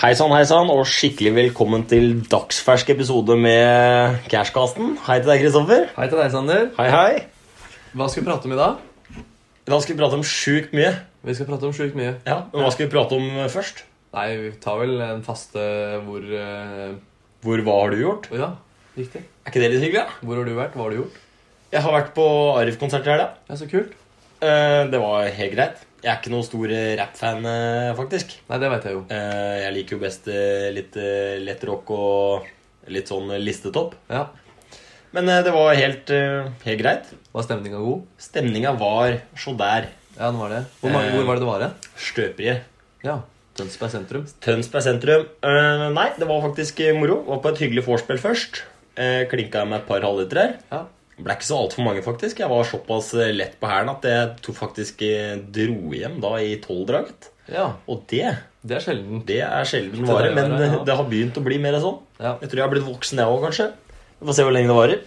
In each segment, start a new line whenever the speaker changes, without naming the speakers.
Hei sann, hei sann, og skikkelig velkommen til dagsfersk episode med Cashcasten. Hei til deg, Kristoffer.
Hei til deg, Sander.
Hei, hei.
Hva skal vi prate om i dag?
I dag skal vi prate om sjukt mye.
Vi skal prate om sjukt mye.
Ja, Men hva skal vi prate om eh, først?
Nei, vi tar vel en faste hvor eh,
Hvor hva har du gjort?
Ja, riktig.
Er ikke det litt hyggelig? da?
Hvor har du vært? Hva har du gjort?
Jeg har vært på Arif-konsert i helga.
Ja, Så kult.
Eh, Det var helt greit. Jeg er ikke noen stor eh, rap-fan, eh, faktisk.
Nei, det veit jeg jo.
Eh, Jeg liker jo best eh, litt eh, lett rock og litt sånn listetopp.
Ja.
Men eh, det var helt, eh, helt greit.
Var stemninga god?
Stemninga var så der.
Ja, den var det. Hvor, mange,
Eh.
hvor var det det var? hen?
Støperiet.
Ja. Tønsberg sentrum.
Tønsberg sentrum. Eh, nei, det var faktisk eh, moro. Var på et hyggelig vorspiel først. Uh, klinka med et par halvliterer.
Ja.
Ble ikke så altfor mange, faktisk. Jeg var såpass eh, lett på hælen at jeg to faktisk eh, dro hjem da i tolvdraget.
ja.
Og det
Det er sjelden.
det er sjelden
Det
vare,
der,
men eh,
ja.
det har begynt å bli mer sånn.
Ja.
Jeg tror jeg har blitt voksen, jeg òg, kanskje. Vi får se hvor lenge det varer.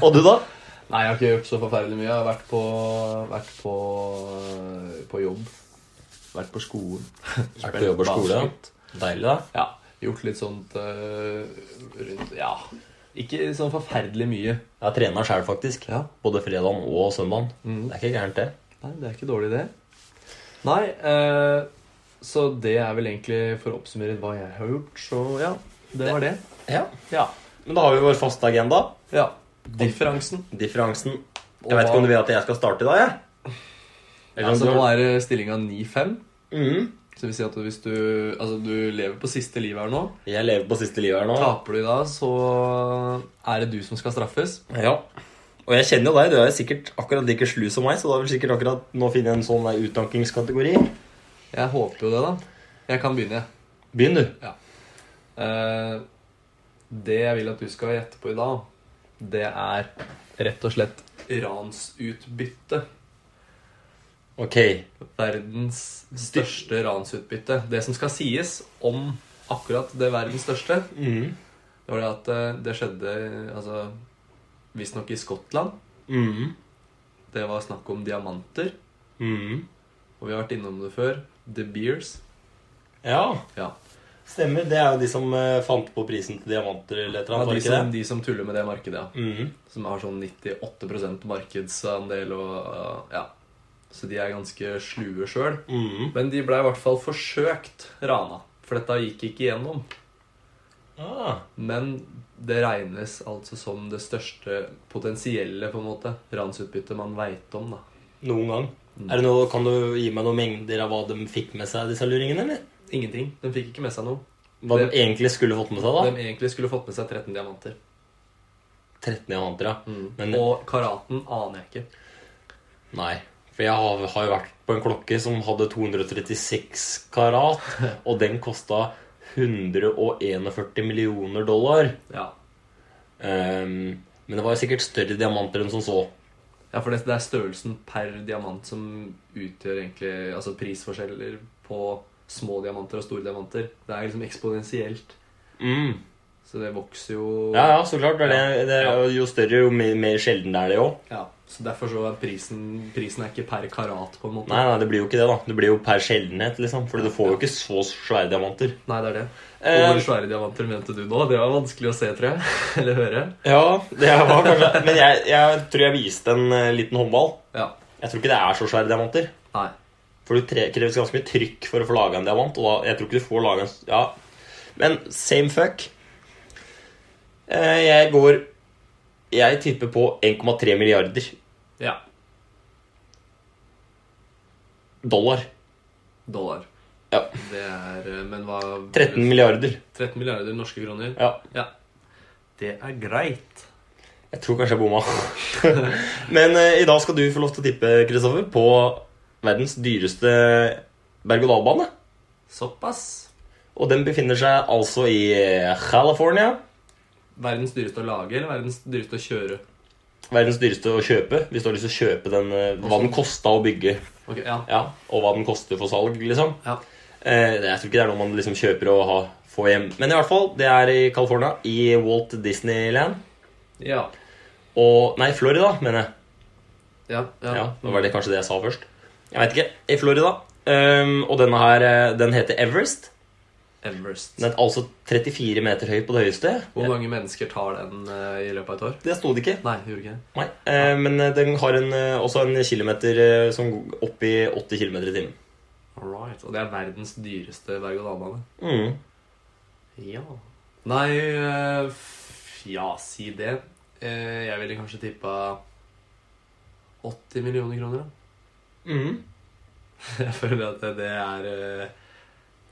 og du, da?
Nei, jeg har ikke gjort så forferdelig mye. Jeg har vært på Vært på på jobb. Vært på skolen.
Vært på jobb og skole, ja.
Basket.
Deilig, da.
Ja, gjort litt sånt eh, rundt Ja, ikke sånn forferdelig mye.
Jeg har trena sjæl, faktisk.
Ja.
Både fredagen og søndagen.
Mm.
Det er ikke gærent, det.
Nei, det er ikke dårlig, det. Nei, eh, så det er vel egentlig for å oppsummere hva jeg har gjort, så ja. Det var det.
Ja.
Ja.
Men da har vi vår faste agenda.
ja. Differansen.
Differansen Jeg
Og
vet ikke om du vil
hva-
at jeg skal starte i dag, jeg? Eller om
Altså,
du-
nå er det stillinga 9-5.
Mhm.
Så det vil si at hvis du Altså, du lever på siste livet her nå.
Jeg lever på siste livet her nå.
Taper du i dag, så er det du som skal straffes.
Ja. Og jeg kjenner jo deg. Du er jo sikkert akkurat like slu som meg, så du har vel sikkert akkurat nå funnet en sånn der utdankingskategori.
Jeg håper jo det, da. Jeg kan begynne, jeg.
Begynn, du.
Eh, Det jeg vil at du skal gjette på i dag, det er rett og slett ransutbytte.
Ok.
Verdens største ransutbytte. Det som skal sies om akkurat det verdens største,
Mhm.
det var det at eh, det skjedde altså, visstnok i Skottland.
Mhm.
Det var snakk om diamanter,
Mhm.
og vi har vært innom det før. The Beers.
Ja,
Ja.
stemmer. Det er jo de som eh, fant på prisen til diamanter eller et eller
Ja,
annet. var
de,
det ikke
som,
det?
de som tuller med det markedet, ja.
Mhm.
Som har sånn 98 markedsandel og uh, Ja. Så de er ganske slue sjøl.
Mhm.
Men de blei i hvert fall forsøkt rana. For dette gikk ikke igjennom.
Ah.
Men det regnes altså som det største potensielle på en måte ransutbyttet man veit om. da.
Noen gang.
Mm.
Er det noe, kan du gi meg noen mengder av hva de fikk med seg, disse luringene? eller?
Ingenting. De fikk ikke med seg noe.
Hva
Det-
de egentlig skulle fått med seg, da?
De egentlig skulle fått med seg 13 diamanter.
13 diamanter, ja. Men,
Og karaten aner jeg ikke.
Nei. For jeg har, har jo vært på en klokke som hadde 236 karat, og den kosta 141 millioner dollar.
Ja,
Ehm, men det var jo sikkert større diamanter enn som så.
ja for det, det er størrelsen per diamant som utgjør egentlig Altså prisforskjeller på små diamanter og store diamanter. Det er liksom eksponentielt.
Mm.
Så det vokser jo
Ja, ja, så klart. Det er det, det er,
Ja.
jo større, jo mer, mer sjelden er det jo.
Ja, så derfor så er prisen, prisen er ikke per karat, på en måte.
Nei, nei, det blir jo ikke det, da. Det blir jo per sjeldenhet, liksom. For du får jo ikke så svære diamanter.
Nei, det er det. Og
Eh,
hvor svære diamanter mente du nå? Det var vanskelig å se, tror jeg. Eller høre.
Ja, det var kanskje Men jeg, jeg tror jeg viste en eh, liten håndball.
Ja.
Jeg tror ikke det er så svære diamanter.
Nei.
For du tre- kreves ganske mye trykk for å få laga en diamant. Og da, jeg tror ikke du får laga en s- Ja. Men same fuck. Eh, Jeg går Jeg tipper på 1,3 milliarder
Ja.
dollar.
Dollar.
Ja.
Det er eh, Men hva
13 milliarder.
13 milliarder norske kroner.
Ja.
Ja. Det er greit.
Jeg tror kanskje jeg bomma. Men eh, i dag skal du få lov til å tippe, Kristoffer, på verdens dyreste berg-og-dal-bane.
Såpass.
Og den befinner seg altså i eh, California.
Verdens dyreste å lage eller verdens dyreste å kjøre?
Verdens dyreste å kjøpe, hvis du har lyst til å kjøpe den eh, Hva den kosta å bygge,
Ok, ja.
ja, og hva den koster for salg, liksom.
ja.
Eh, det- jeg tror ikke det er noe man liksom kjøper og ha, får hjem. Men i hvert fall, det er i California, i Walt Disneyland.
Ja.
Og Nei, Florida, mener jeg.
Ja.
Ja, det var det kanskje det jeg sa først. Jeg veit ikke. I Florida. Ehm, og denne her, eh, den heter Everest.
Everest.
Den er altså 34 meter høy på det høyeste.
Hvor mange mennesker tar den eh, i løpet av et år?
Det sto det ikke.
Nei, gjorde ikke det.
Nei, eh, Men eh, den har en, eh, også en kilometer eh, som går opp i 80 km i timen.
All right. Og det er verdens dyreste berg-og-dal-bane.
Mm.
Ja Nei, eh, f- ja, si det. Eh, Jeg ville kanskje tippa 80 millioner kroner, da.
Mm.
Jeg føler at det- det er eh,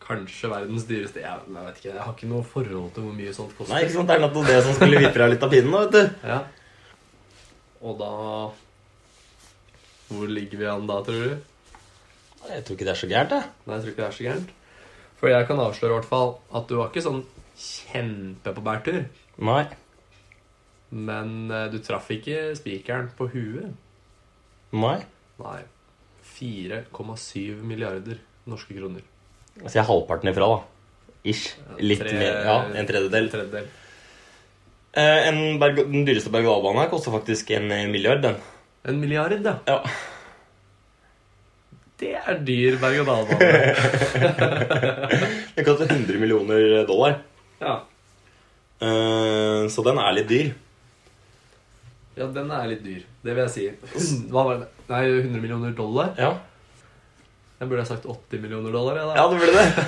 kanskje verdens dyreste jeg, jeg vet ikke, jeg har ikke noe forhold til hvor mye sånt koster.
Nei, ikke sant? Det er nettopp det som skulle vippe deg litt av pinnen. da, vet du.
Ja. Og da Hvor ligger vi an da, tror du?
Jeg tror ikke det er så gærent. jeg.
Nei, jeg tror ikke det er så gærent. For jeg kan avsløre i hvert fall at du var ikke sånn kjempe på bærtur.
Nei.
Men eh, du traff ikke spikeren på huet.
Nei.
Nei. 4,7 milliarder norske kroner.
Så Altså, jeg er halvparten ifra, da. Ish. Litt
Tre-
mer. Ja, en tredjedel.
tredjedel.
Eh, en berg den dyreste berg-og-dal-banen her koster faktisk en eh, milliard, den.
En milliard, da.
Ja.
Det er dyr berg-og-dal-bane.
Den koster 100 millioner dollar.
ja.
Eh, så den er litt dyr.
ja, den er litt dyr. Det vil jeg si. Hun- Hva var det? Nei, 100 millioner dollar?
Ja,
Jeg burde ha sagt 80 millioner dollar. Jeg, da.
ja det ble det.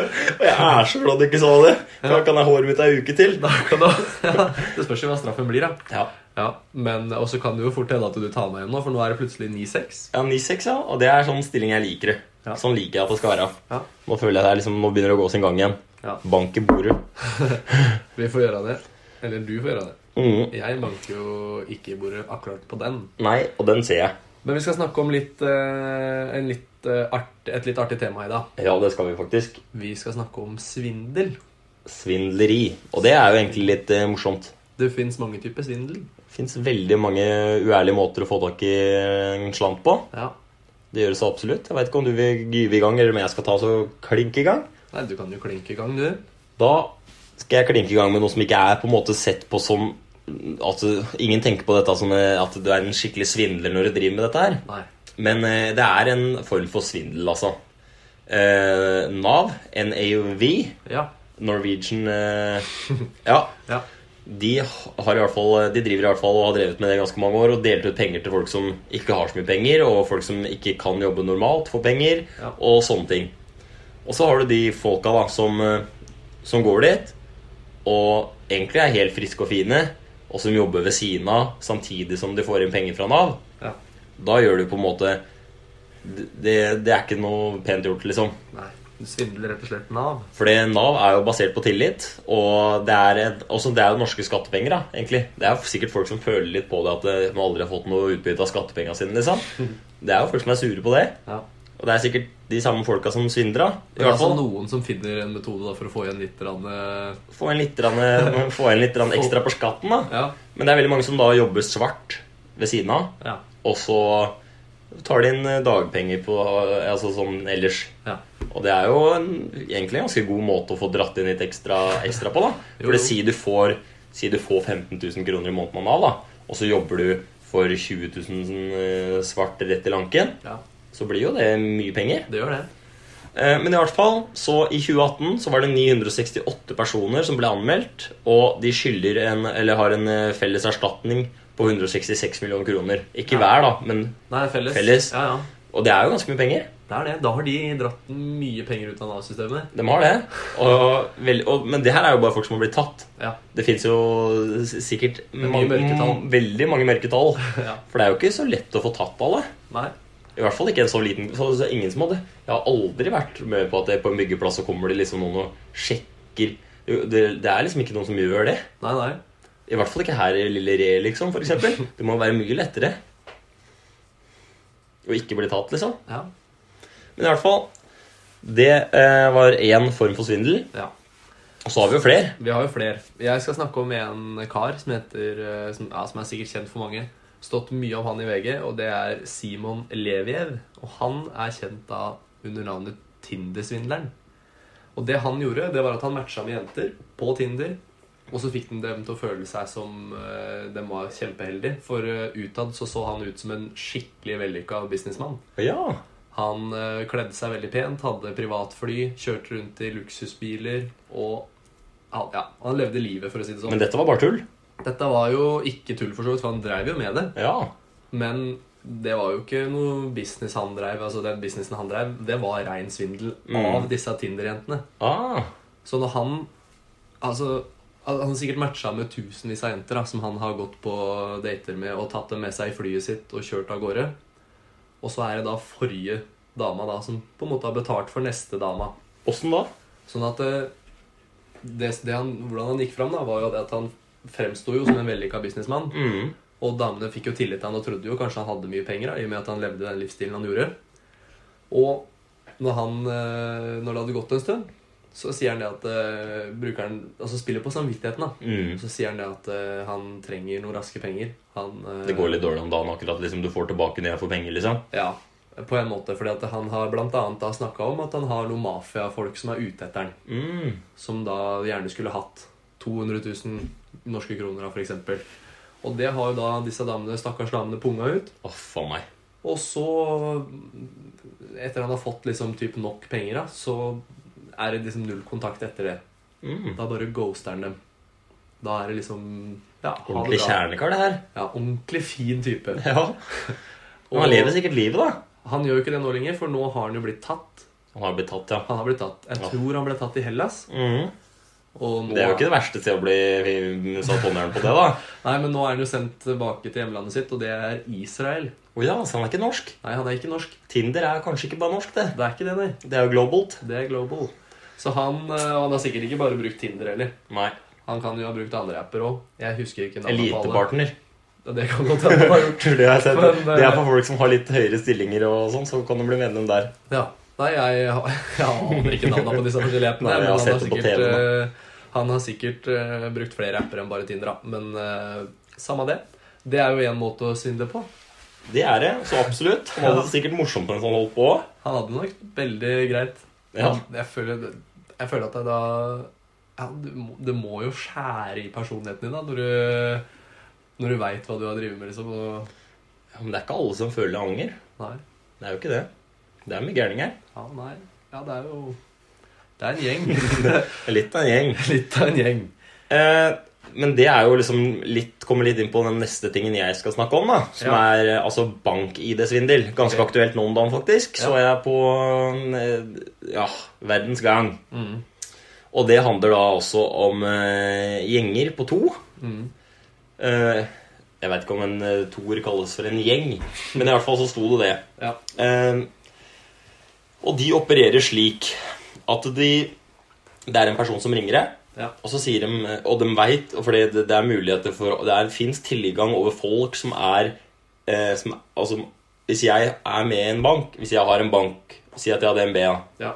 Og jeg er så glad du ikke sa det, for da kan jeg ha håret mitt ei uke til.
Da kan du, ja, det spørs jo hva straffen blir, da.
Ja,
Ja, men Og så kan det jo fort hende at du tar meg hjem nå, for nå er det plutselig 9-6.
ja 9-6, ja. Og det er sånn stilling jeg liker.
Ja.
det Sånn liker jeg at det skal være.
Ja.
Nå føler jeg det er liksom, nå begynner det å gå sin gang igjen.
Ja.
Bank i bordet.
Vi får gjøre det. Eller du får gjøre det.
Mm.
Jeg banker jo ikke i bordet akkurat på den.
Nei, og den ser jeg.
Men vi skal snakke om litt, eh, en litt, eh, art, et litt artig tema i dag.
Ja, det skal vi faktisk.
Vi skal snakke om svindel.
Svindleri. Og det er jo egentlig litt eh, morsomt.
Det fins mange typer svindel.
Det fins veldig mange uærlige måter å få tak i eh, en slant på.
Ja.
Det gjøres absolutt. Jeg veit ikke om du vil gyve i gang, eller om jeg skal ta så klinke i gang.
Nei, du kan jo klinke i gang, du.
Da skal jeg klinke i gang med noe som ikke er på en måte sett på som at du- Ingen tenker på dette som eh, at du er en skikkelig svindler når du driver med dette her.
Nei.
Men eh, det er en form for svindel, altså. Eh, Nav, NAUV,
Ja.
Norwegian eh, Ja.
Ja.
De, har i hvert fall, de driver i hvert fall og har drevet med det i ganske mange år og delt ut penger til folk som ikke har så mye penger, og folk som ikke kan jobbe normalt, får penger,
Ja.
og sånne ting. Og så har du de folka da som, eh, som går dit, og egentlig er helt friske og fine, og som jobber ved siden av samtidig som de får inn penger fra Nav.
ja.
Da gjør du på en måte Det, det er ikke noe pent gjort, liksom.
Nei. Du svindler rett og slett Nav.
Fordi Nav er jo basert på tillit, og det er, et, også det er jo norske skattepenger. da, egentlig. Det er jo sikkert folk som føler litt på det at eh, man aldri har fått noe utbytte av skattepengene sine. liksom. Det er jo folk som er sure på det,
Ja.
og det er sikkert de samme folka som svindra. I
Det er
hvert
altså
fall
noen som finner en metode da, for å få igjen litt grann, eh,
få en litt, grann- eh, få en litt grann ekstra på skatten, da.
Ja.
Men det er veldig mange som da jobber svart ved siden av,
Ja.
og så tar de inn eh, dagpenger på, eh, altså sånn ellers.
ja.
Og det er jo en, egentlig en ganske god måte å få dratt inn litt ekstra, ekstra på. da
Jo,
For det
jo.
si du får, si du får 15 000 kroner i måneden av Nav, da, og så jobber du for 20 000 eh, svart rett i lanken,
ja.
så blir jo det mye penger.
Det gjør det.
Eh, Men i hvert fall, så i 2018 så var det 968 personer som ble anmeldt, og de skylder en, eller har en eh, felles erstatning på 166 millioner kroner. Ikke hver, da, men
Nei, felles.
Felles.
Ja, ja.
Og det er jo ganske mye penger.
Det er det. Da har de dratt mye penger ut av Nav-systemet.
De har det. Og, vel, og, men det her er jo bare folk som har blitt tatt.
Ja.
Det fins jo s- sikkert
er mye
mange-
mørketall.
veldig mange mørketall.
ja.
For det er jo ikke så lett å få tatt alle.
Nei.
I hvert fall ikke en så liten så, så ingen som hadde. Jeg har aldri vært med på at det, på en byggeplass så kommer det liksom noen og sjekker. Jo, Det, det er liksom ikke noen som gjør det.
Nei, nei.
I hvert fall ikke her i Lille Re, liksom, for eksempel. Det må være mye lettere å ikke bli tatt, liksom.
Ja.
Men i hvert fall Det eh, var én form for svindel.
ja.
Og så har vi jo flere.
Vi har jo flere. Jeg skal snakke om en kar som heter eh, som, ja, som er sikkert kjent for mange. Stått mye om han i VG, og det er Simon Leviev. Og han er kjent da under navnet Tinder-svindleren. Og det han gjorde, det var at han matcha med jenter på Tinder. Og så fikk den dem til å føle seg som eh, de var kjempeheldige. For eh, utad så så han ut som en skikkelig vellykka businessmann.
Ja.
Han eh, kledde seg veldig pent, hadde privatfly, kjørte rundt i luksusbiler og han- Ja, han levde livet, for å si det sånn.
Men dette var bare tull.
Dette var jo ikke tull, for så vidt, for han dreiv jo med det.
Ja.
Men det var jo ikke noe business han dreiv. Altså, den businessen han dreiv, det var rein svindel
Mm.
av disse Tinder-jentene.
Ah.
Så når han Altså han har sikkert matcha med tusenvis av jenter da, som han har gått på dater med og tatt dem med seg i flyet sitt og kjørt av gårde. Og så er det da forrige dama da som på en måte har betalt for neste dama.
Åssen da?
Sånn at eh, det, det han, Hvordan han gikk fram, da, var jo det at han fremsto jo som en vellykka businessmann.
Mm.
Og damene fikk jo tillit til han og trodde jo kanskje han hadde mye penger, da, i og med at han levde den livsstilen han gjorde. Og når, han, eh, når det hadde gått en stund, så sier han det at eh, brukeren altså spiller på samvittigheten. da.
Mm.
Så sier han det at eh, han trenger noen raske penger. Han, eh,
Det går litt dårlig om dagen akkurat. liksom Du får tilbake når jeg får penger, liksom.
Ja, på en måte. Fordi at han har blant annet snakka om at han har noen mafiafolk som er ute etter han.
Mm.
som da gjerne skulle hatt 200 000 norske kroner av, f.eks. Og det har jo da disse damene, stakkars damene punga ut.
Å, faen meg.
Og så, etter han har fått liksom typ nok penger, da, så er det liksom null kontakt etter det.
Mm.
Da bare ghoster han dem. Da er det liksom ja, ha det
Ordentlig
bra.
kjernekar, det her.
Ja, ordentlig fin type.
Ja. Men han lever sikkert livet, da.
Han gjør jo ikke det nå lenger, for nå har han jo blitt tatt.
Han har blitt tatt, ja.
Han har blitt tatt. Jeg
Ja.
tror han ble tatt i Hellas.
Mm.
Og nå
Det er jo ikke det verste stedet å bli satt håndjern på det, da.
Nei, men nå er han jo sendt tilbake til hjemlandet sitt, og det er Israel.
Å ja, så han er ikke norsk.
Nei, han er ikke norsk.
Tinder er kanskje ikke bare norsk, det.
Det er ikke det, nei.
Det er jo globalt.
Det er global. Så han, eh, han har sikkert ikke bare brukt Tinder heller.
Nei.
Han kan jo ha brukt andre apper òg. Jeg husker ikke navnet på alle.
Elitepartner.
Ja, Det kan godt hende han har gjort.
Tror jeg har sett.
Men, eh,
Det er for folk som har litt høyere stillinger og sånn, så kan du bli medlem der.
Ja. Nei, jeg, har- jeg aner ikke navnet på disse forskjellige appene.
Nei, jeg
men
har
han, har
sett det på
sikkert,
TV nå.
eh, han har sikkert eh, brukt flere apper enn bare Tinder, da. Men eh, samme det. Det er jo én måte å svindle på.
Det er det, så absolutt. Han hadde det sikkert morsomt mens han holdt på.
Han hadde det nok veldig greit.
Ja.
Jeg, føler, jeg føler at det da ja, du, må- Det må jo skjære i personligheten din da når du, når du veit hva du har drevet med, liksom. Og,
Ja, men det er ikke alle som føler anger.
nei.
Det er jo ikke det. Det er mye gærninger.
Ja, nei. Ja, det er jo Det er en gjeng.
Litt av en gjeng.
Litt av en gjeng.
Eh, men det er jo liksom litt, kommer litt inn på den neste tingen jeg skal snakke om, da. Som
Ja.
er eh, altså bank-ID-svindel. Ganske
Ok.
aktuelt nå om dagen, faktisk. Så jeg på eh, ja, verdens gang.
Mm.
Og det handler da også om eh, gjenger på to.
Mm.
Eh, jeg veit ikke om en eh, toer kalles for en gjeng, men i hvert fall så sto det det.
Ja.
Eh, og de opererer slik at de Det er en person som ringer deg.
Ja.
Og så sier de, og de vet, for det, det er muligheter for Det er, finnes tilgang over folk som er eh, som, Altså, hvis jeg er med i en bank Hvis jeg har en bank, si at jeg har DNB, ja,
ja.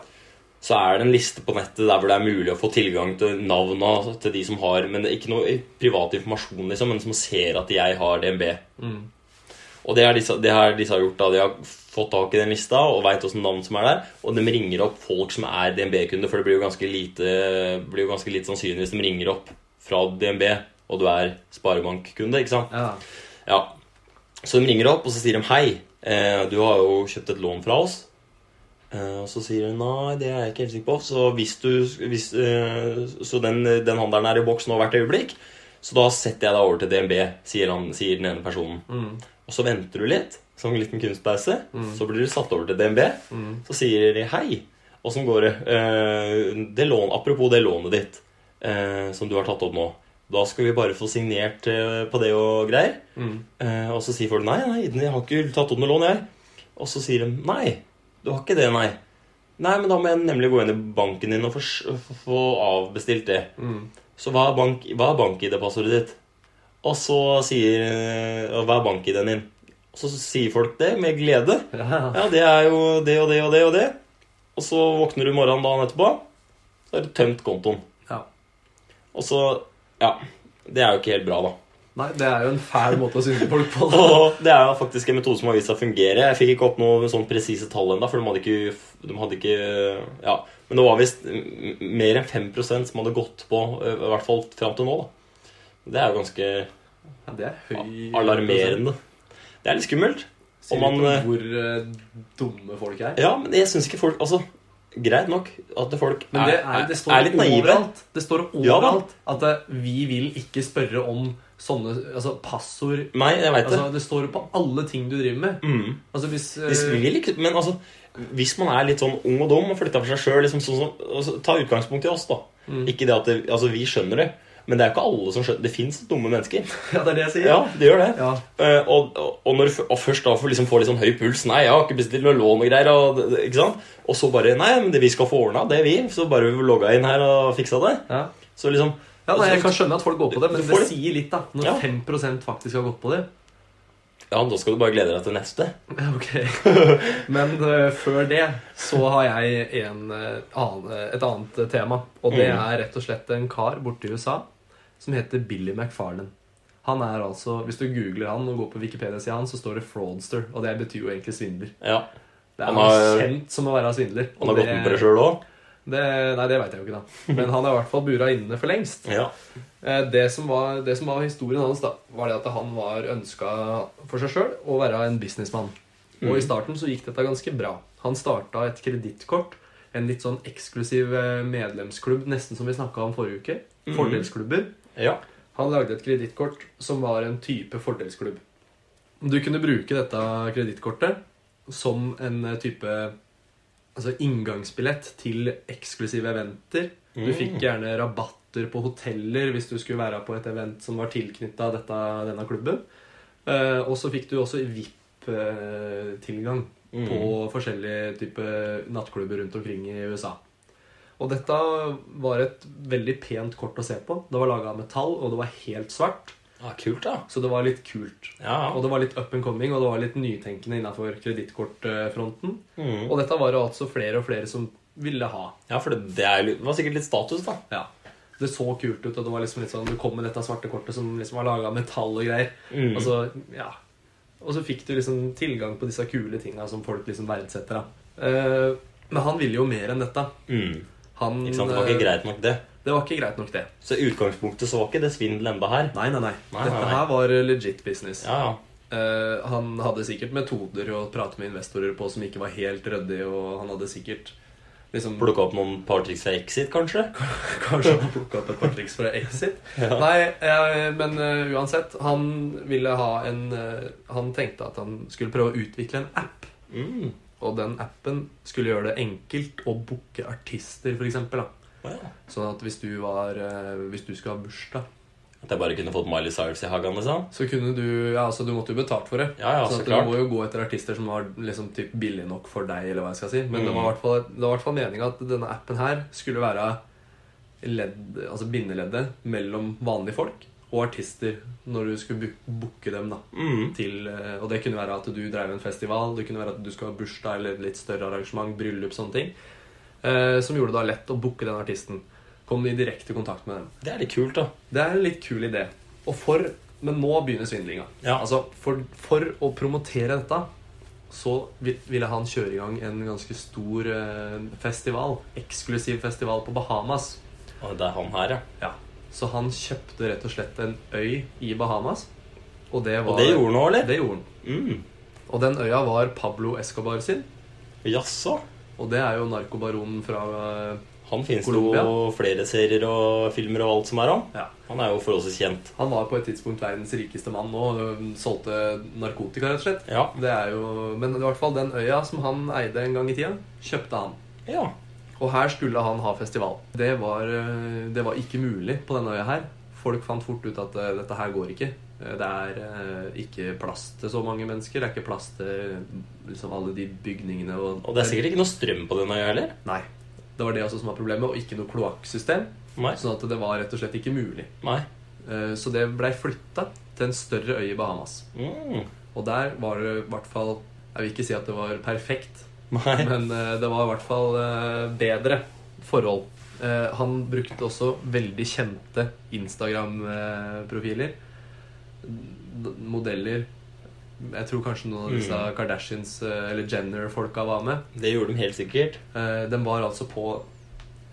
så er det en liste på nettet der hvor det er mulig å få tilgang til navna til de som har Men det er ikke noe privat informasjon, liksom, men som ser at jeg har DNB.
Mm.
Og det er disse, det her disse har gjort da, De har fått tak i den lista og veit hvilke navn som er der. Og de ringer opp folk som er DNB-kunder, for det blir jo ganske lite, blir jo ganske lite sannsynlig hvis de ringer opp fra DNB, og du er sparebankkunde. ikke sant?
ja.
Ja. Så de ringer opp, og så sier de hei. Eh, du har jo kjøpt et lån fra oss. Eh, og så sier hun nei, det er jeg ikke helt sikker på. Så, hvis du, hvis, eh, så den, den handelen er i boks nå hvert øyeblikk. Så da setter jeg deg over til DNB, sier, han, sier den ene personen.
Mm.
Og så venter du litt, som en liten kunstpause. Så blir du satt over til DNB.
Mm.
Så sier de hei. Åssen går det? Eh, det lån, apropos det lånet ditt eh, som du har tatt opp nå. Da skal vi bare få signert eh, på det og greier.
Mm.
Eh, og så sier folk nei, nei, jeg har ikke tatt opp noe lån, jeg. Og så sier de nei, du har ikke det, nei. Nei, men da må jeg nemlig gå inn i banken din og få, s- få avbestilt det.
Mm.
Så hva er, bank, hva er bank-ID-passordet ditt? Og så sier eh, og Hva er bank-ID-en din? Og så sier folk det med glede.
Ja.
Ja, det er jo det og det og det og det. Og så våkner du morgenen dagen etterpå, så har du tømt kontoen.
ja.
Og så Ja. Det er jo ikke helt bra, da.
Nei, det er jo en fæl måte å synge folk på. Da.
Og det er jo faktisk en metode som har vist seg å fungere. Jeg fikk ikke opp noe sånn presise tall ennå, for de hadde ikke, de hadde ikke Ja. Men det var visst m- mer enn 5 som hadde gått på, i hvert fall fram til nå. da. Det er jo ganske
Ja, det er høy
alarmerende. Det er litt skummelt.
Sier
Om
litt
han,
om hvor eh, dumme folk er.
Ja, men jeg syns ikke folk Altså, greit nok at folk
Men det, er, det står
litt naive.
overalt. Det står
Ja da.
overalt at eh, vi vil ikke spørre om sånne altså, passord
Nei, jeg veit det.
altså, Det står på alle ting du driver med.
Mm.
Altså, hvis, eh,
Hvis, vi vil ikke- men altså, hvis man er litt sånn ung og dum og flytter for seg sjøl liksom, sånn, som- altså, Ta utgangspunkt i oss, da. Ikke det at det, altså, vi skjønner det, men det er jo ikke alle som skjønner Det fins dumme mennesker.
ja, det er det jeg sier.
Ja, det gjør det.
Ja.
Eh, og, og, og, når, og først da får liksom få litt sånn høy puls. 'Nei, jeg har ikke bestilt noe lån og greier.' Og, det- det- ikke sant? og så bare 'Nei, men det vi skal få ordna, det er vi.' Så bare logga inn her og fiksa det.
Ja.
Så liksom
Ja, nei, jeg kan skjønne at folk går på det, men
Du
det
får det.
sier litt, da. Når
Ja.
5 faktisk har gått på det.
Ja, da skal du bare glede deg til neste.
Ja, Ok. Men eh, før det så har jeg en, eh, annen, et annet eh, tema. Og det
Mm.
er rett og slett en kar borte i USA som heter Billy McFarlane. Han er altså, Hvis du googler han og går på Wikipedia-sida hans, så står det 'fraudster'. Og det betyr jo egentlig svindler.
Ja,
Det er
Han
han
har-
kjent som å være svindler.
Han har
og
gått med på det sjøl òg.
det, nei, det veit jeg jo ikke, da. Men han er i hvert fall bura inne for lengst.
Ja.
Eh, Det som, var, det som var historien hans, da, var det at han var ønska for seg sjøl å være en businessmann. Og i starten så gikk dette ganske bra. Han starta et kredittkort. En litt sånn eksklusiv eh, medlemsklubb, nesten som vi snakka om forrige uke. Fordelsklubber.
ja.
Han lagde et kredittkort som var en type fordelsklubb. Du kunne bruke dette kredittkortet som en eh, type altså inngangsbillett til eksklusive eventer. Du fikk gjerne rabatter på hoteller hvis du skulle være på et event som var tilknytta denne klubben. Eh, og så fikk du også VIP-tilgang på forskjellige typer nattklubber rundt omkring i USA. Og dette var et veldig pent kort å se på. Det var laga av metall, og det var helt svart.
ja kult, da.
Så det var litt kult.
Ja.
Og det var litt up and coming, og det var litt nytenkende innafor kredittkortfronten.
Mhm.
Og dette var det altså flere og flere som ville ha.
ja, for det, det, er, jo- det var sikkert litt status, da.
Ja. Det så kult ut, og det var liksom litt sånn Du kom med dette svarte kortet som liksom var laga av metall og greier.
Mhm.
Og så, ja. Og så fikk du liksom tilgang på disse kule tinga som folk liksom verdsetter, da. Eh, men han ville jo mer enn dette.
Mm.
Han
Ikke sant? Det var ikke
eh,
greit nok, det.
Det var ikke greit nok, det.
Så i utgangspunktet så var ikke det svindel enda her.
Nei, nei, nei.
Nei,
Dette
nei, nei.
her var legit business.
Ja, ja.
Eh, han hadde sikkert metoder å prate med investorer på som ikke var helt ryddig, og han hadde sikkert liksom
Plukka opp noen par triks fra Exit, kanskje?
Kanskje han plukka opp et par triks fra Exit. Nei, eh, men eh, uansett. Han ville ha en eh, Han tenkte at han skulle prøve å utvikle en app.
Mm.
Og den appen skulle gjøre det enkelt å booke artister, for eksempel, da
Å ja.
Sånn at hvis du, var, eh, hvis du skulle ha bursdag,
At jeg bare kunne fått Miley Cyrus i hagen, liksom?
så kunne du Ja, altså, du måtte jo betalt for det.
Ja, ja,
så
så
at du
klart.
må jo gå etter artister som var liksom typ billig nok for deg, eller hva jeg skal si. Men
Mm.
det var i hvert fall- det var i hvert fall meninga at denne appen her skulle være ledd, altså bindeleddet mellom vanlige folk og artister når du skulle bu- booke dem. da
Mm.
til, eh, Og det kunne være at du drev en festival, det kunne være at du skulle ha bursdag eller litt større arrangement, bryllup, sånne ting. Eh, som gjorde det da lett å booke den artisten. Kom i direkte kontakt med dem.
Det er litt kult, da.
Det er en litt kul idé. Og for, men nå begynner svindlinga.
Ja.
Altså, for, for å promotere dette så vil- ville han kjøre i gang en ganske stor eh, festival. Eksklusiv festival på Bahamas.
Og det er han her, ja.
Ja. Så han kjøpte rett og slett en øy i Bahamas. Og det, var,
Og det gjorde han òg, eller?
Det gjorde han.
Mm.
Og den øya var Pablo Escobar sin.
Jaså?
Og det er jo narkobaronen fra eh,
Han finnes det
Colombia.
jo flere serier og filmer og alt som er om.
ja.
Han er jo forholdsvis kjent.
Han var på et tidspunkt verdens rikeste mann og ø, solgte narkotika, rett og slett.
Ja.
Det er jo, men i hvert fall den øya som han eide en gang i tida, kjøpte han.
Ja.
Og her skulle han ha festival. Det var, ø, det var ikke mulig på denne øya her. Folk fant fort ut at ø, dette her går ikke. Eh, Det er ø, ikke plass til så mange mennesker. Det er ikke plass til liksom, alle de bygningene og
Og det er sikkert ikke noe strøm på den øya heller.
Nei. Det var det også som var problemet, og ikke noe kloakksystem.
Nei.
Sånn at det var rett og slett ikke mulig.
Nei.
Eh, Så det blei flytta til en større øy i Bahamas.
Mm.
Og der var det i hvert fall Jeg vil ikke si at det var perfekt,
Nei.
men eh, det var i hvert fall eh, bedre forhold. Eh, han brukte også veldig kjente Instagram-profiler. D- Modeller. Jeg tror kanskje noen av disse Kardashians eh, eller Jenner-folka var med.
Det gjorde de helt sikkert.
Eh, den var altså på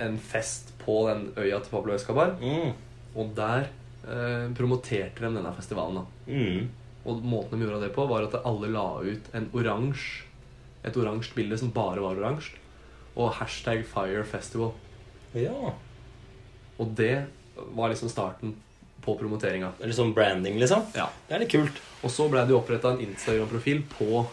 en fest på den øya til Pablo Escobar,
Mm.
og der eh, promoterte de denne festivalen. da
Mm.
Og måten de gjorde det på, var at alle la ut en oransje et oransje bilde som bare var oransje, og hashtag Fire Festival.
Ja.
Og det var liksom starten på promoteringa.
Eller sånn branding, liksom.
Ja.
Det er litt kult.
Og så ble det jo oppretta en Instagram-profil på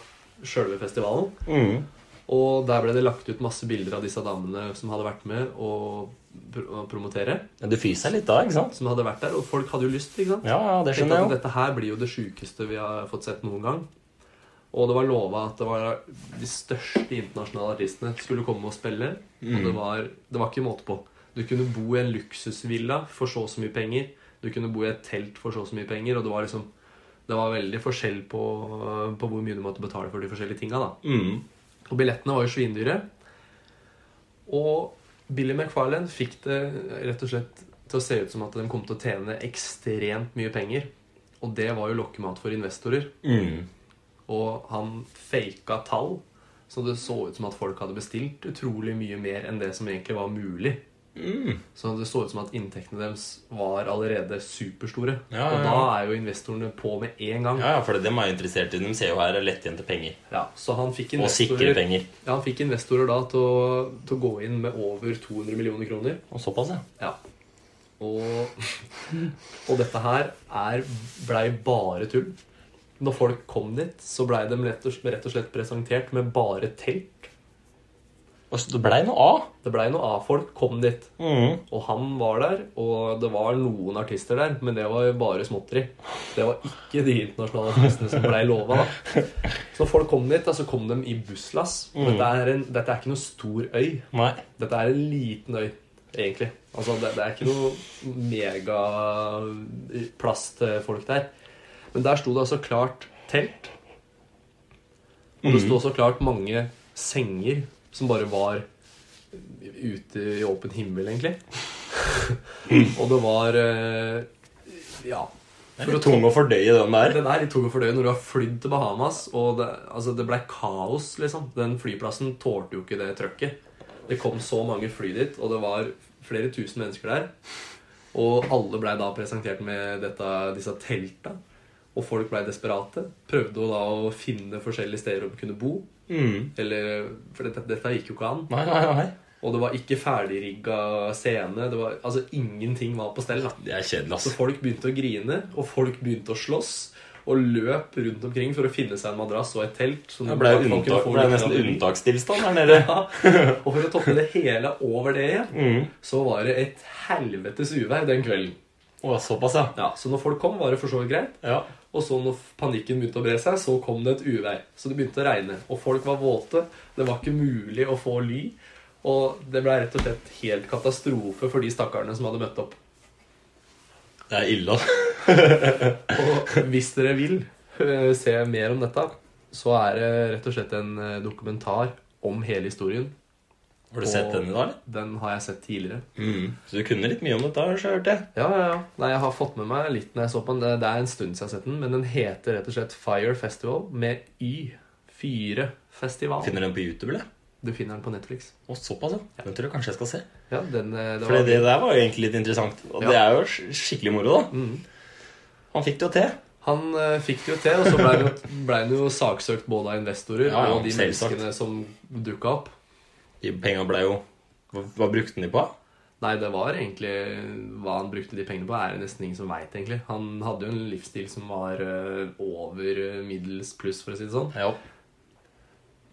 sjølve festivalen.
Mm.
Og der ble det lagt ut masse bilder av disse damene som hadde vært med å pr- å promotere.
Men du fyser deg litt da, ikke sant?
Som hadde vært der, Og folk hadde jo lyst. ikke sant?
Ja, ja, det
Tenkte
skjønner
at
jeg jo.
Dette her blir jo det sjukeste vi har fått sett noen gang. Og det var lova at det var de største internasjonale artistene skulle komme og spille. Og det var, det var ikke måte på. Du kunne bo i en luksusvilla for så og så mye penger. Du kunne bo i et telt for så og så mye penger. Og det var liksom Det var veldig forskjell på, på hvor mye du måtte betale for de forskjellige tinga, da.
Mm.
Og billettene var jo svindyre. Og Billy McFarlane fikk det rett og slett til å se ut som at de kom til å tjene ekstremt mye penger. Og det var jo lokkemat for investorer.
Mm.
Og han faka tall, så det så ut som at folk hadde bestilt utrolig mye mer enn det som egentlig var mulig.
Mm.
Så det så ut som at inntektene deres var allerede superstore.
Ja,
Og
ja,
da
ja.
er jo investorene på med en gang.
Ja, ja, for dem er jo interessert i De ser jo her er lettjente penger.
Ja, så han fikk
Og sikre
investorer,
penger.
ja, han fikk investorer da til å, til å gå inn med over 200 millioner kroner.
Og såpass, ja.
Ja. Og, og dette her er, blei bare tull. Når folk kom dit, så blei de rett og, rett og slett presentert med bare telt.
Og så det blei noe av.
Det blei noe av folk kom dit.
Mm.
Og han var der, og det var noen artister der, men det var jo bare småtteri. Det var ikke de internasjonale artistene som blei lova, da. Så når folk kom dit, da, så kom de i busslass. Dette, er en, dette er ikke noe stor øy.
Nei.
Dette er en liten øy, egentlig. Altså, det, det er ikke noe megaplass til folk der. Men der sto det altså klart telt. Og det sto også klart mange senger som bare var ute i åpen himmel, egentlig. Og det var eh, Ja.
Det er litt tung å fordøye den der.
Den er litt tung å fordøye når du har flydd til Bahamas, og det, altså, det ble kaos, liksom. Den flyplassen tålte jo ikke det trøkket. Det kom så mange fly dit, og det var flere tusen mennesker der. Og alle blei da presentert med dette, disse telta. Og folk blei desperate. Prøvde jo da å finne forskjellige steder å kunne bo.
Mm.
Eller, for dette, dette gikk jo ikke an.
Nei, nei, nei.
Og det var ikke ferdigrigga scene. Det var, altså, ingenting var på stell. da.
Det er kjedelig,
Så
altså.
folk begynte å grine, og folk begynte å slåss. Og løp rundt omkring for å finne seg en madrass og et telt. Som
Det ble,
i hvert fall kunne
unntak,
få
ble
litt
nesten
av-
unntakstilstand her nede.
Ja, og for å toppe det hele over det igjen,
Mm.
så var det et helvetes uvær den kvelden.
Å, såpass, ja.
Ja, Så når folk kom, var det for så vidt greit.
ja.
Og så når panikken begynte å bre seg, så kom det et uvær. Så det begynte å regne. Og folk var våte. Det var ikke mulig å få ly. Og det ble rett og slett helt katastrofe for de stakkarene som hadde møtt opp.
Det er ille, altså.
Og hvis dere vil eh, se mer om dette, så er det rett og slett en eh, dokumentar om hele historien.
Har du sett den i dag, eller?
Den har jeg sett tidligere.
Mm. Så du kunne litt mye om dette, har jeg hørt det.
Ja, ja, ja. Nei, jeg har fått med meg litt når jeg så på den. Det- Det er en stund siden jeg har sett den, men den heter rett og slett Fire Festival med Y. Fyre festival.
Finner den på YouTube, eller?
Du finner den på Netflix.
Å, såpass, ja. Den tror jeg kanskje jeg skal se.
Ja, den, eh, det
For
var...
det der var jo egentlig litt interessant. Og
Ja.
det er jo sk- skikkelig moro, da.
Mm.
Han fikk det jo til.
Han eh, fikk det jo til, og så ble han jo, ble han jo saksøkt både av investorer
Ja, ja,
og de
selvsagt.
menneskene som dukka opp.
De penga blei jo Hva, hva brukte han de på?
Nei, det var egentlig hva han brukte de pengene på, er det nesten ingen som veit, egentlig. Han hadde jo en livsstil som var eh, over eh, middels pluss, for å si det sånn.
Ja.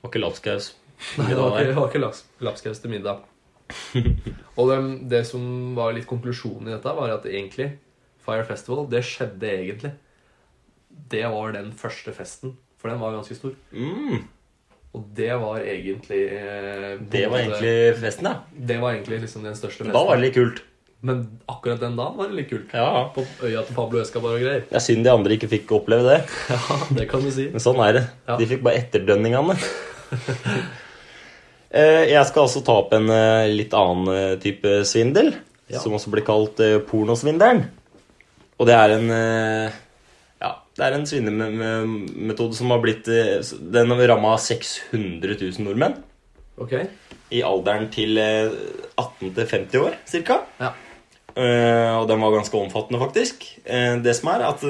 Var ikke lapskaus.
Nei, det var ikke, det var ikke laps, lapskaus til middag. Og det, det som var litt konklusjonen i dette, var at egentlig Fire Festival, det skjedde egentlig. Det var den første festen, for den var ganske stor.
Mm,
Og det var egentlig eh, på
det
en
var
måte-
egentlig festen, ja.
Det var egentlig liksom den største festen.
Da var det litt kult.
Men akkurat den dagen var det litt kult.
Ja, ja.
På øya til Pablo Escabar og greier.
Det er synd de andre ikke fikk oppleve det.
Ja, det kan du si.
Men sånn er det.
Ja.
De fikk bare etterdønningene. Eh, Jeg skal altså ta opp en eh, litt annen eh, type svindel,
Ja.
som også blir kalt eh, pornosvindelen. Og det er en eh, Ja, det er en svindelmetode som har blitt eh, s- Den har ramma 600 000 nordmenn
Ok.
i alderen til eh, 18 til 50 år, cirka.
Ja.
Eh, og den var ganske omfattende, faktisk. Eh, det som er, at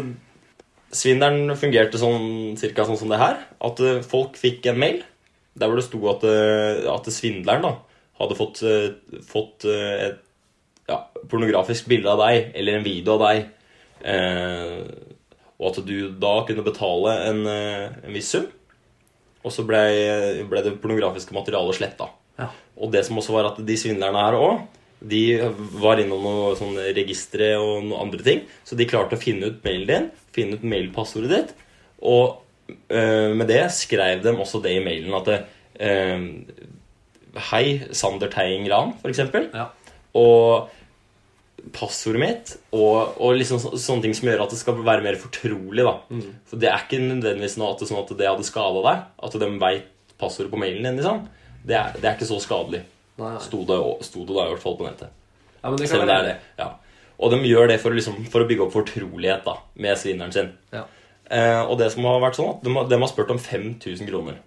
Svindelen fungerte sånn, cirka sånn som det her. At eh, folk fikk en mail der hvor det sto at, eh, at svindleren da, hadde fått, eh, fått eh, et ja, pornografisk bilde av deg eller en video av deg. Eh, og at du da kunne betale en, eh, en viss sum. Og så ble, ble det pornografiske materialet sletta.
Ja.
Og det som også var at de svindlerne her òg, de var innom noe sånn registre og noen andre ting. Så de klarte å finne ut mailen din, finne ut mailpassordet ditt. Og eh, med det skrev dem også det i mailen at eh, Hei, Sander Teiing Ran, for eksempel.
Ja.
Og passordet mitt, og, og liksom så, sånne ting som gjør at det skal være mer fortrolig. da. For Det er ikke nødvendigvis noe at det, sånn at det hadde skada deg, at de veit passordet på mailen din. liksom. Det er, det er ikke så skadelig,
Nei, nei.
sto det, sto det da i hvert fall på nettet.
Ja, men det
Selv
kan
om det
være
er det. Ja. Og de gjør det for, å liksom, for å bygge opp fortrolighet da, med svinneren sin.
Ja.
Eh, og det som har vært sånn, at de, har- de har spurt om 5000 kroner.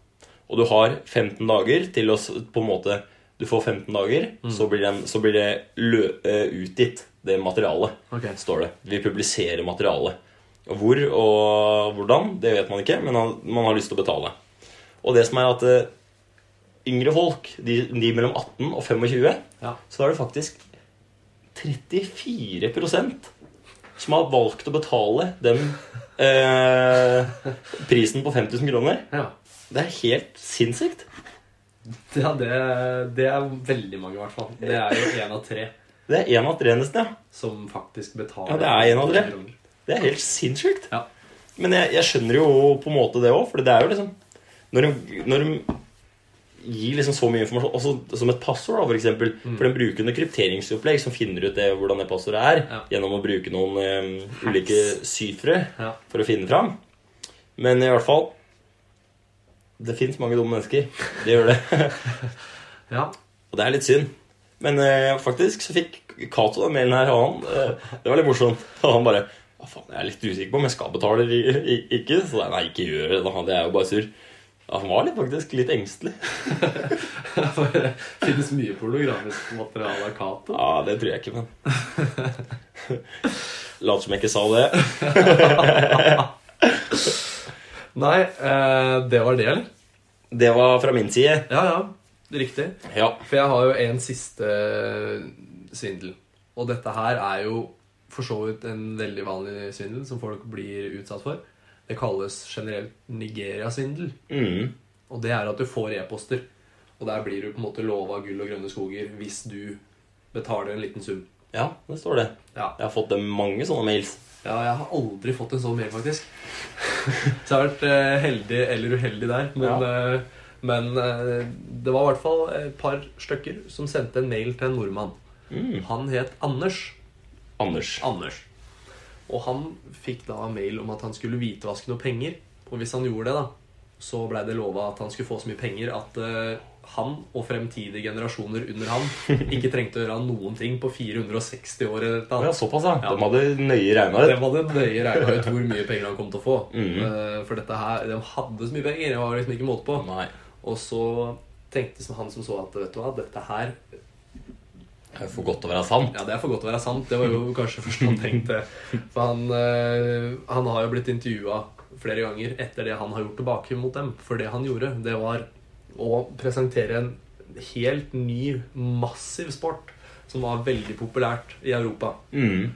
Og du har 15 dager til å s- på en måte Du får 15 dager,
Mm.
så, blir den, så blir det lø, eh, utgitt, det materialet,
Ok.
står det. Vi publiserer materialet. Og Hvor og hvordan, det vet man ikke, men han- man har lyst til å betale. Og det som er at eh, yngre folk, de, de mellom 18 og 25,
Ja.
så er det faktisk 34 som har valgt å betale den eh, prisen på 5000 kroner.
Ja.
Det er helt sinnssykt.
Ja, det, det er veldig mange, i hvert fall. Det er jo én av tre
Det er én av tre, nesten. ja.
som faktisk betaler.
Ja, det er en av tre.
kroner.
Det er helt sinnssykt.
Ja.
Men jeg, jeg skjønner jo på en måte det òg, for det er jo liksom Når de, når de gir liksom så mye informasjon, også som et passord, da, for eksempel For de bruker noe krypteringsopplegg som finner ut det, hvordan det passordet er,
Ja.
gjennom å bruke noen eh, ulike syfre.
Ja.
for å finne fram. Men i hvert fall Det fins mange dumme mennesker. Det gjør det.
ja.
Og det er litt synd. Men eh, faktisk så fikk Cato den mailen her, og han eh, Det var litt morsomt. Og han bare Hva faen, jeg er litt usikker på om jeg skal betale eller i- i- ikke. Så jeg, nei, ikke gjør det. da, Det er jo bare surr. Ja, Han var litt, faktisk litt engstelig.
For det finnes mye pornografisk materiale av Cato.
Ja, det tror jeg ikke, men Later som jeg ikke sa det.
Nei, eh, det var det, eller?
Det var fra min side.
Ja, ja. Riktig.
Ja.
For jeg har jo en siste eh, svindel. Og dette her er jo for så vidt en veldig vanlig svindel som folk blir utsatt for. Det kalles generelt Nigeria-svindel.
Mm.
Og det er at du får e-poster. Og der blir du på en måte lova gull og grønne skoger hvis du betaler en liten sum.
ja, det står det.
Ja.
Jeg har fått mange sånne mails.
Ja, jeg har aldri fått en sånn mail, faktisk. Så jeg har vært eh, heldig eller uheldig der. Men, eh, men eh, det var i hvert fall et par stykker som sendte en mail til en nordmann. Han het Anders.
Anders.
Anders. Og han fikk da mail om at han skulle hvitvaske noe penger. Og hvis han gjorde det, da, så blei det lova at han skulle få så mye penger at eh, han og fremtidige generasjoner under han ikke trengte å gjøre noen ting på 460 år eller noe
Å
annet.
Ja, såpass, ja.
Ja.
De hadde nøye regna
Det
ut.
var det nøye regna ut hvor mye penger han kom til å få. Eh, For dette her, de hadde så mye penger. Det var liksom ikke måte på.
Nei.
Og så tenkte som han som så at vet du hva, dette her
Det er for godt til å være sant.
Ja, det er for godt til å være sant. Det var jo kanskje først han tenkte. For han, eh, han har jo blitt intervjua flere ganger etter det han har gjort tilbake mot dem. For det han gjorde, det var å presentere en helt ny, massiv sport som var veldig populært i Europa.
Mm.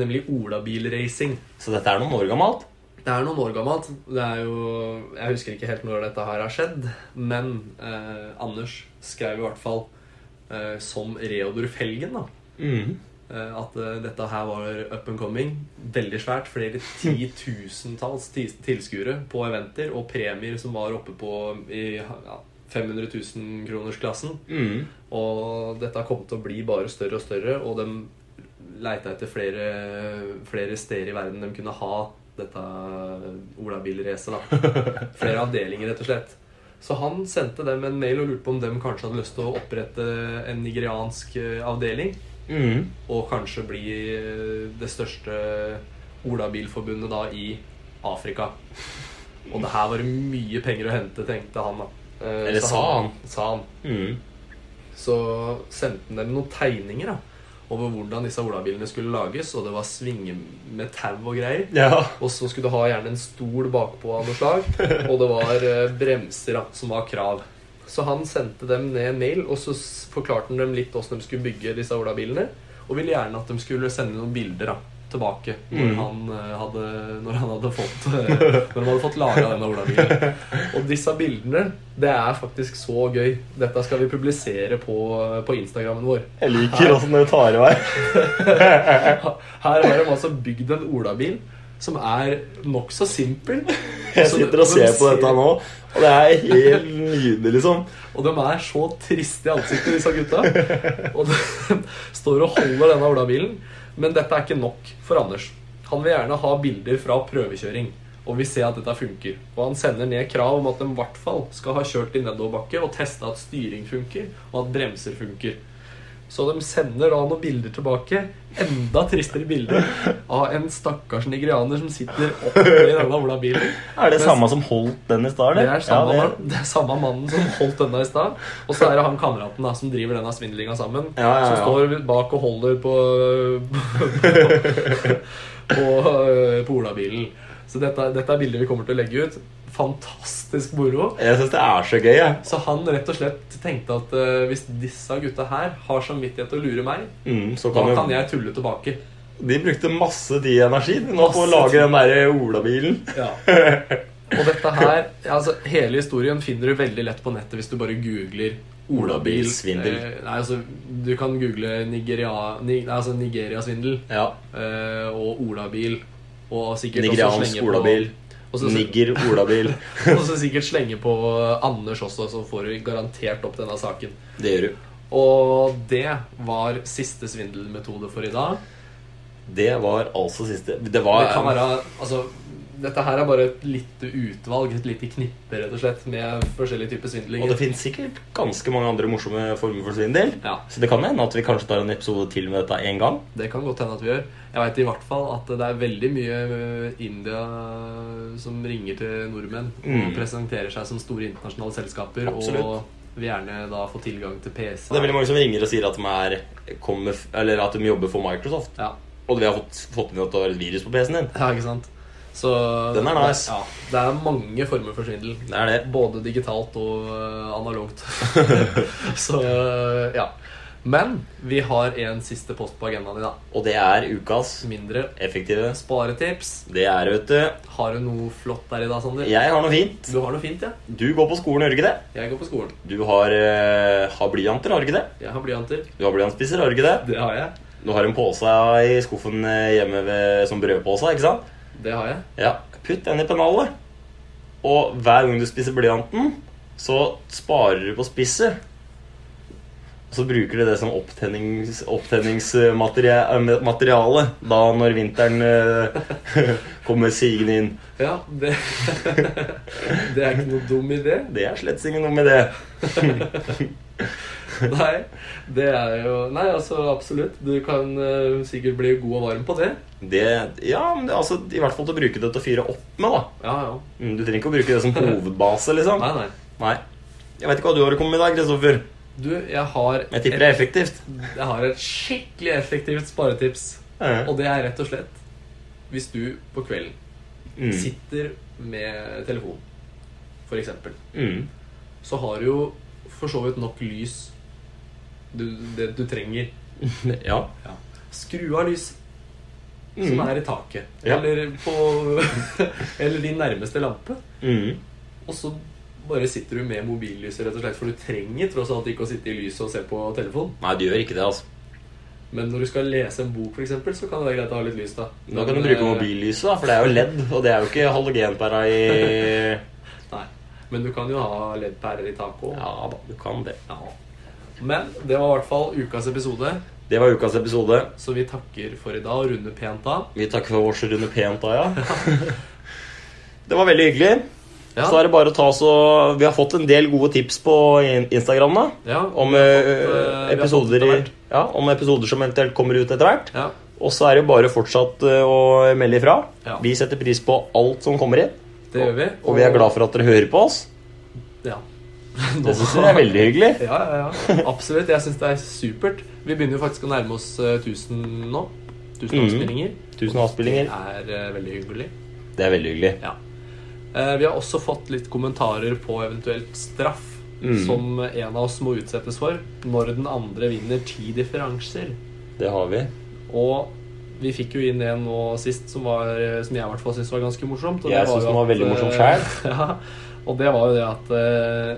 Nemlig olabilracing.
Så dette er noen år gammelt.
Det er noen år gammelt. Det er jo, jeg husker ikke helt når dette her har skjedd, men eh, Anders skrev i hvert fall eh, som Reodor Felgen da,
Mm.
eh, at eh, dette her var up and coming. Veldig svært. Flere titusentalls ti- tilskuere på eventer og premier som var oppe på i ja, 500 000-kronersklassen.
Mm.
Og dette kom til å bli bare større og større, og de leita etter flere, flere steder i verden de kunne ha dette olabilracet, da. Flere avdelinger, rett og slett. Så han sendte dem en mail og lurte på om de kanskje hadde lyst til å opprette en nigeriansk eh, avdeling,
Mm.
og kanskje bli eh, det største olabilforbundet da i Afrika. Og det her var det mye penger å hente, tenkte han, da. Eh,
Eller
så
sa han.
Sa han
Mm.
så sendte han dem noen tegninger da, over hvordan disse olabilene skulle lages, og det var svinge med tau og greier.
Ja.
Og så skulle du ha gjerne en stol bakpå av noe slag, og det var eh, bremser da, som var krav. Så han sendte dem ned en mail, og så s- forklarte han dem litt hvordan de skulle bygge disse olabilene, og ville gjerne at de skulle sende noen bilder da, tilbake når,
Mm.
han, eh, hadde, når han hadde fått eh, Når han hadde fått laga denne olabilen. Og disse bildene, det er faktisk så gøy. Dette skal vi publisere på, på Instagrammen vår.
Jeg liker åssen du tar i vei.
Her har de altså bygd en olabil som er nokså simpel. Altså,
Jeg
Så det-
sitter og ser
de
på dette nå, og det er helt nydelig, liksom.
Og de er så triste i ansiktet, disse gutta. Og de står og holder denne olabilen. Men dette er ikke nok for Anders. Han vil gjerne ha bilder fra prøvekjøring. Og vi ser at dette funker. Og han sender ned krav om at de i hvert fall skal ha kjørt i nedoverbakke og testa at styring funker, og at bremser funker. Så de sender da noen bilder tilbake, enda tristere bilder, av en stakkars nigerianer som sitter oppi denne olabilen.
Er det
Men-
samme som holdt den i stad,
Det
eller?
er, samme,
ja,
mann- det er samme mannen som holdt denne i stad. Og så er det han kameraten da, som driver denne svindlinga sammen.
Ja, ja,
Som
ja.
står bak og holder på på, på olabilen. Så dette, dette er bilder vi kommer til å legge ut. Fantastisk moro.
Jeg syns det er så gøy, jeg.
Så han rett og slett tenkte at eh, hvis disse gutta her har samvittighet til å lure meg,
Mm, så
da
kan
kan
vi-
jeg tulle tilbake.
De brukte masse tid og energi nå på å
Masse
lage
tid.
den der eh, olabilen.
Ja. Og dette her, altså Hele historien finner du veldig lett på nettet hvis du bare googler olabil.
Olabilsvindel.
Eh, nei, altså, du kan google Nigeria, ni, nei, altså Nigeria-svindel
Ja.
eh, og olabil. Og sikkert også
Nigeriansk
slenge
olabil.
På, og, så,
Nigger-olabil.
og så sikkert slenge på Anders også, så får du garantert opp denne saken.
Det gjør du.
Og det var siste svindelmetode for i dag.
Det var altså siste Det var
Det kan være, altså, dette her er bare et lite utvalg, et lite knippe rett og slett, med forskjellige typer
Og det
svindlinger.
finnes sikkert ganske mange andre morsomme former for svindel.
Ja,
Så det kan hende at vi kanskje tar en episode til med dette en gang.
det kan godt hende at vi gjør. Jeg veit i hvert fall at det er veldig mye ø, India som ringer til nordmenn
Mm.
og presenterer seg som store internasjonale selskaper
Absolutt.
og vil gjerne da få tilgang til PC.
Det er veldig mange som ringer og sier at de, er, kommer, eller at de jobber for Microsoft.
Ja,
Og vi har fått, fått med at det var et virus på PC-en din.
ja ikke sant? Så
Den er nice.
Ja, det er mange former for svindel.
Det er det.
Både digitalt og øh, analogt. så øh, ja. Men vi har en siste post på agendaen i dag.
Og det er ukas
Mindre
effektive.
sparetips.
Det er, vet du.
Har du noe flott der i dag, Sander?
Jeg har noe fint.
Du har noe fint, ja.
Du går på skolen, gjør du ikke det?
Jeg går på skolen.
Du har, eh, har blyanter, har du ikke det?
Jeg har blyanter.
Du har blyantspisser, har du ikke det?
Det har jeg.
Du har en pose i skuffen eh, hjemme ved, som brødpose, ikke sant?
Det har jeg.
Ja, putt den i pennalet. Og hver gang du spiser blyanten, så sparer du på spisset. Og så bruker du det som opptennings, opptenningsmateriale da når vinteren eh, kommer sigende inn.
Ja, det Det er ikke noe dum idé.
Det er slett ikke noe med det.
Nei, det er jo Nei, altså absolutt. Du kan øh, sikkert bli god og varm på det.
det ja, men det, er altså, I hvert fall til å bruke det til å fyre opp med. da.
Ja, ja.
Mm, Du trenger ikke å bruke det som hovedbase. liksom.
Nei, nei.
Nei. Jeg vet ikke hva du har kommet med i dag, Kristoffer.
Du, jeg har
Jeg tipper det er effektivt.
Jeg har et skikkelig effektivt sparetips. Og det er rett og slett hvis du på kvelden
Mm.
sitter med telefon, for eksempel,
Mm.
så har du jo for så vidt nok lys du, det du trenger.
Ja.
Skru av lys
Mm.
som er i taket,
Ja.
eller på Eller din nærmeste lampe.
Mm.
Og så bare sitter du med mobillyset, rett og slett, for du trenger tross alt ikke å sitte i lyset og se på telefon.
Nei, du gjør ikke det, altså.
Men når du skal lese en bok, for eksempel, så kan det være greit å ha litt lys, da.
Da kan du
Men,
bruke
eh,
mobillyset, da, for det er jo LED, og det er jo ikke halogenpæra i
Nei, men du kan jo ha leddpærer i taket òg.
Ja da, du kan det.
Men det var i hvert fall ukas episode,
Det var ukas episode.
så vi takker for i dag og runder pent av.
Vi takker for vårs runde pent da, ja. Det var veldig hyggelig. Så er det bare å ta så Vi har fått en del gode tips på in- Instagram da
ja,
om, eh,
vi har fått
episoder,
litt av
i-
hvert.
ja, om episoder som eventuelt kommer ut etter hvert.
ja,
Og så er det jo bare fortsatt eh, å melde ifra.
Ja.
Vi setter pris på alt som kommer inn,
det gjør vi.
og vi er glad for at dere hører på oss.
Ja.
Det syns jeg er veldig hyggelig.
Ja, ja, ja. Absolutt. Jeg syns det er supert. Vi begynner jo faktisk å nærme oss eh, 1000 nå. 1000
Mhm.
avspillinger.
Tusen avspillinger.
Det er eh, veldig hyggelig.
Det er veldig hyggelig.
Ja. Eh, vi har også fått litt kommentarer på eventuelt straff
Mhm.
som en av oss må utsettes for når den andre vinner ti differanser.
Det har vi.
Og vi fikk jo inn en nå sist som, var, som jeg i hvert fall syntes var ganske morsomt.
Jeg
jo
synes den var
at,
veldig morsom
eh, ja, og det var jo det at eh,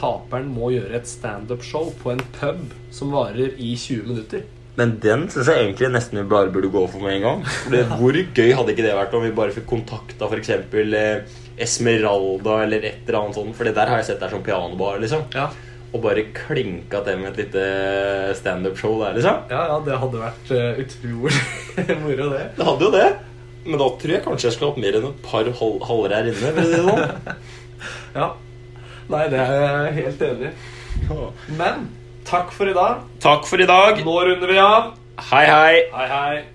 taperen må gjøre et standup-show på en pub som varer i 20 minutter.
Men den syns jeg egentlig nesten vi bare burde gå for med en gang. Fordi Hvor gøy hadde ikke det vært om vi bare fikk kontakta f.eks. Esmeralda eller et eller annet sånt? For det der har jeg sett der som pianobar, liksom.
Ja,
Og bare klinka til med et lite standup-show der, liksom.
ja, ja det hadde vært eh, utrolig moro, det.
Det hadde jo det. Men da tror jeg kanskje jeg skulle hatt mer enn et par hal- halvår her inne. For å si det sånn.
Ja. Nei, det er jeg helt enig i. Men takk for i dag.
Takk for i dag.
Nå runder vi av.
Hei, hei.
Hei, hei.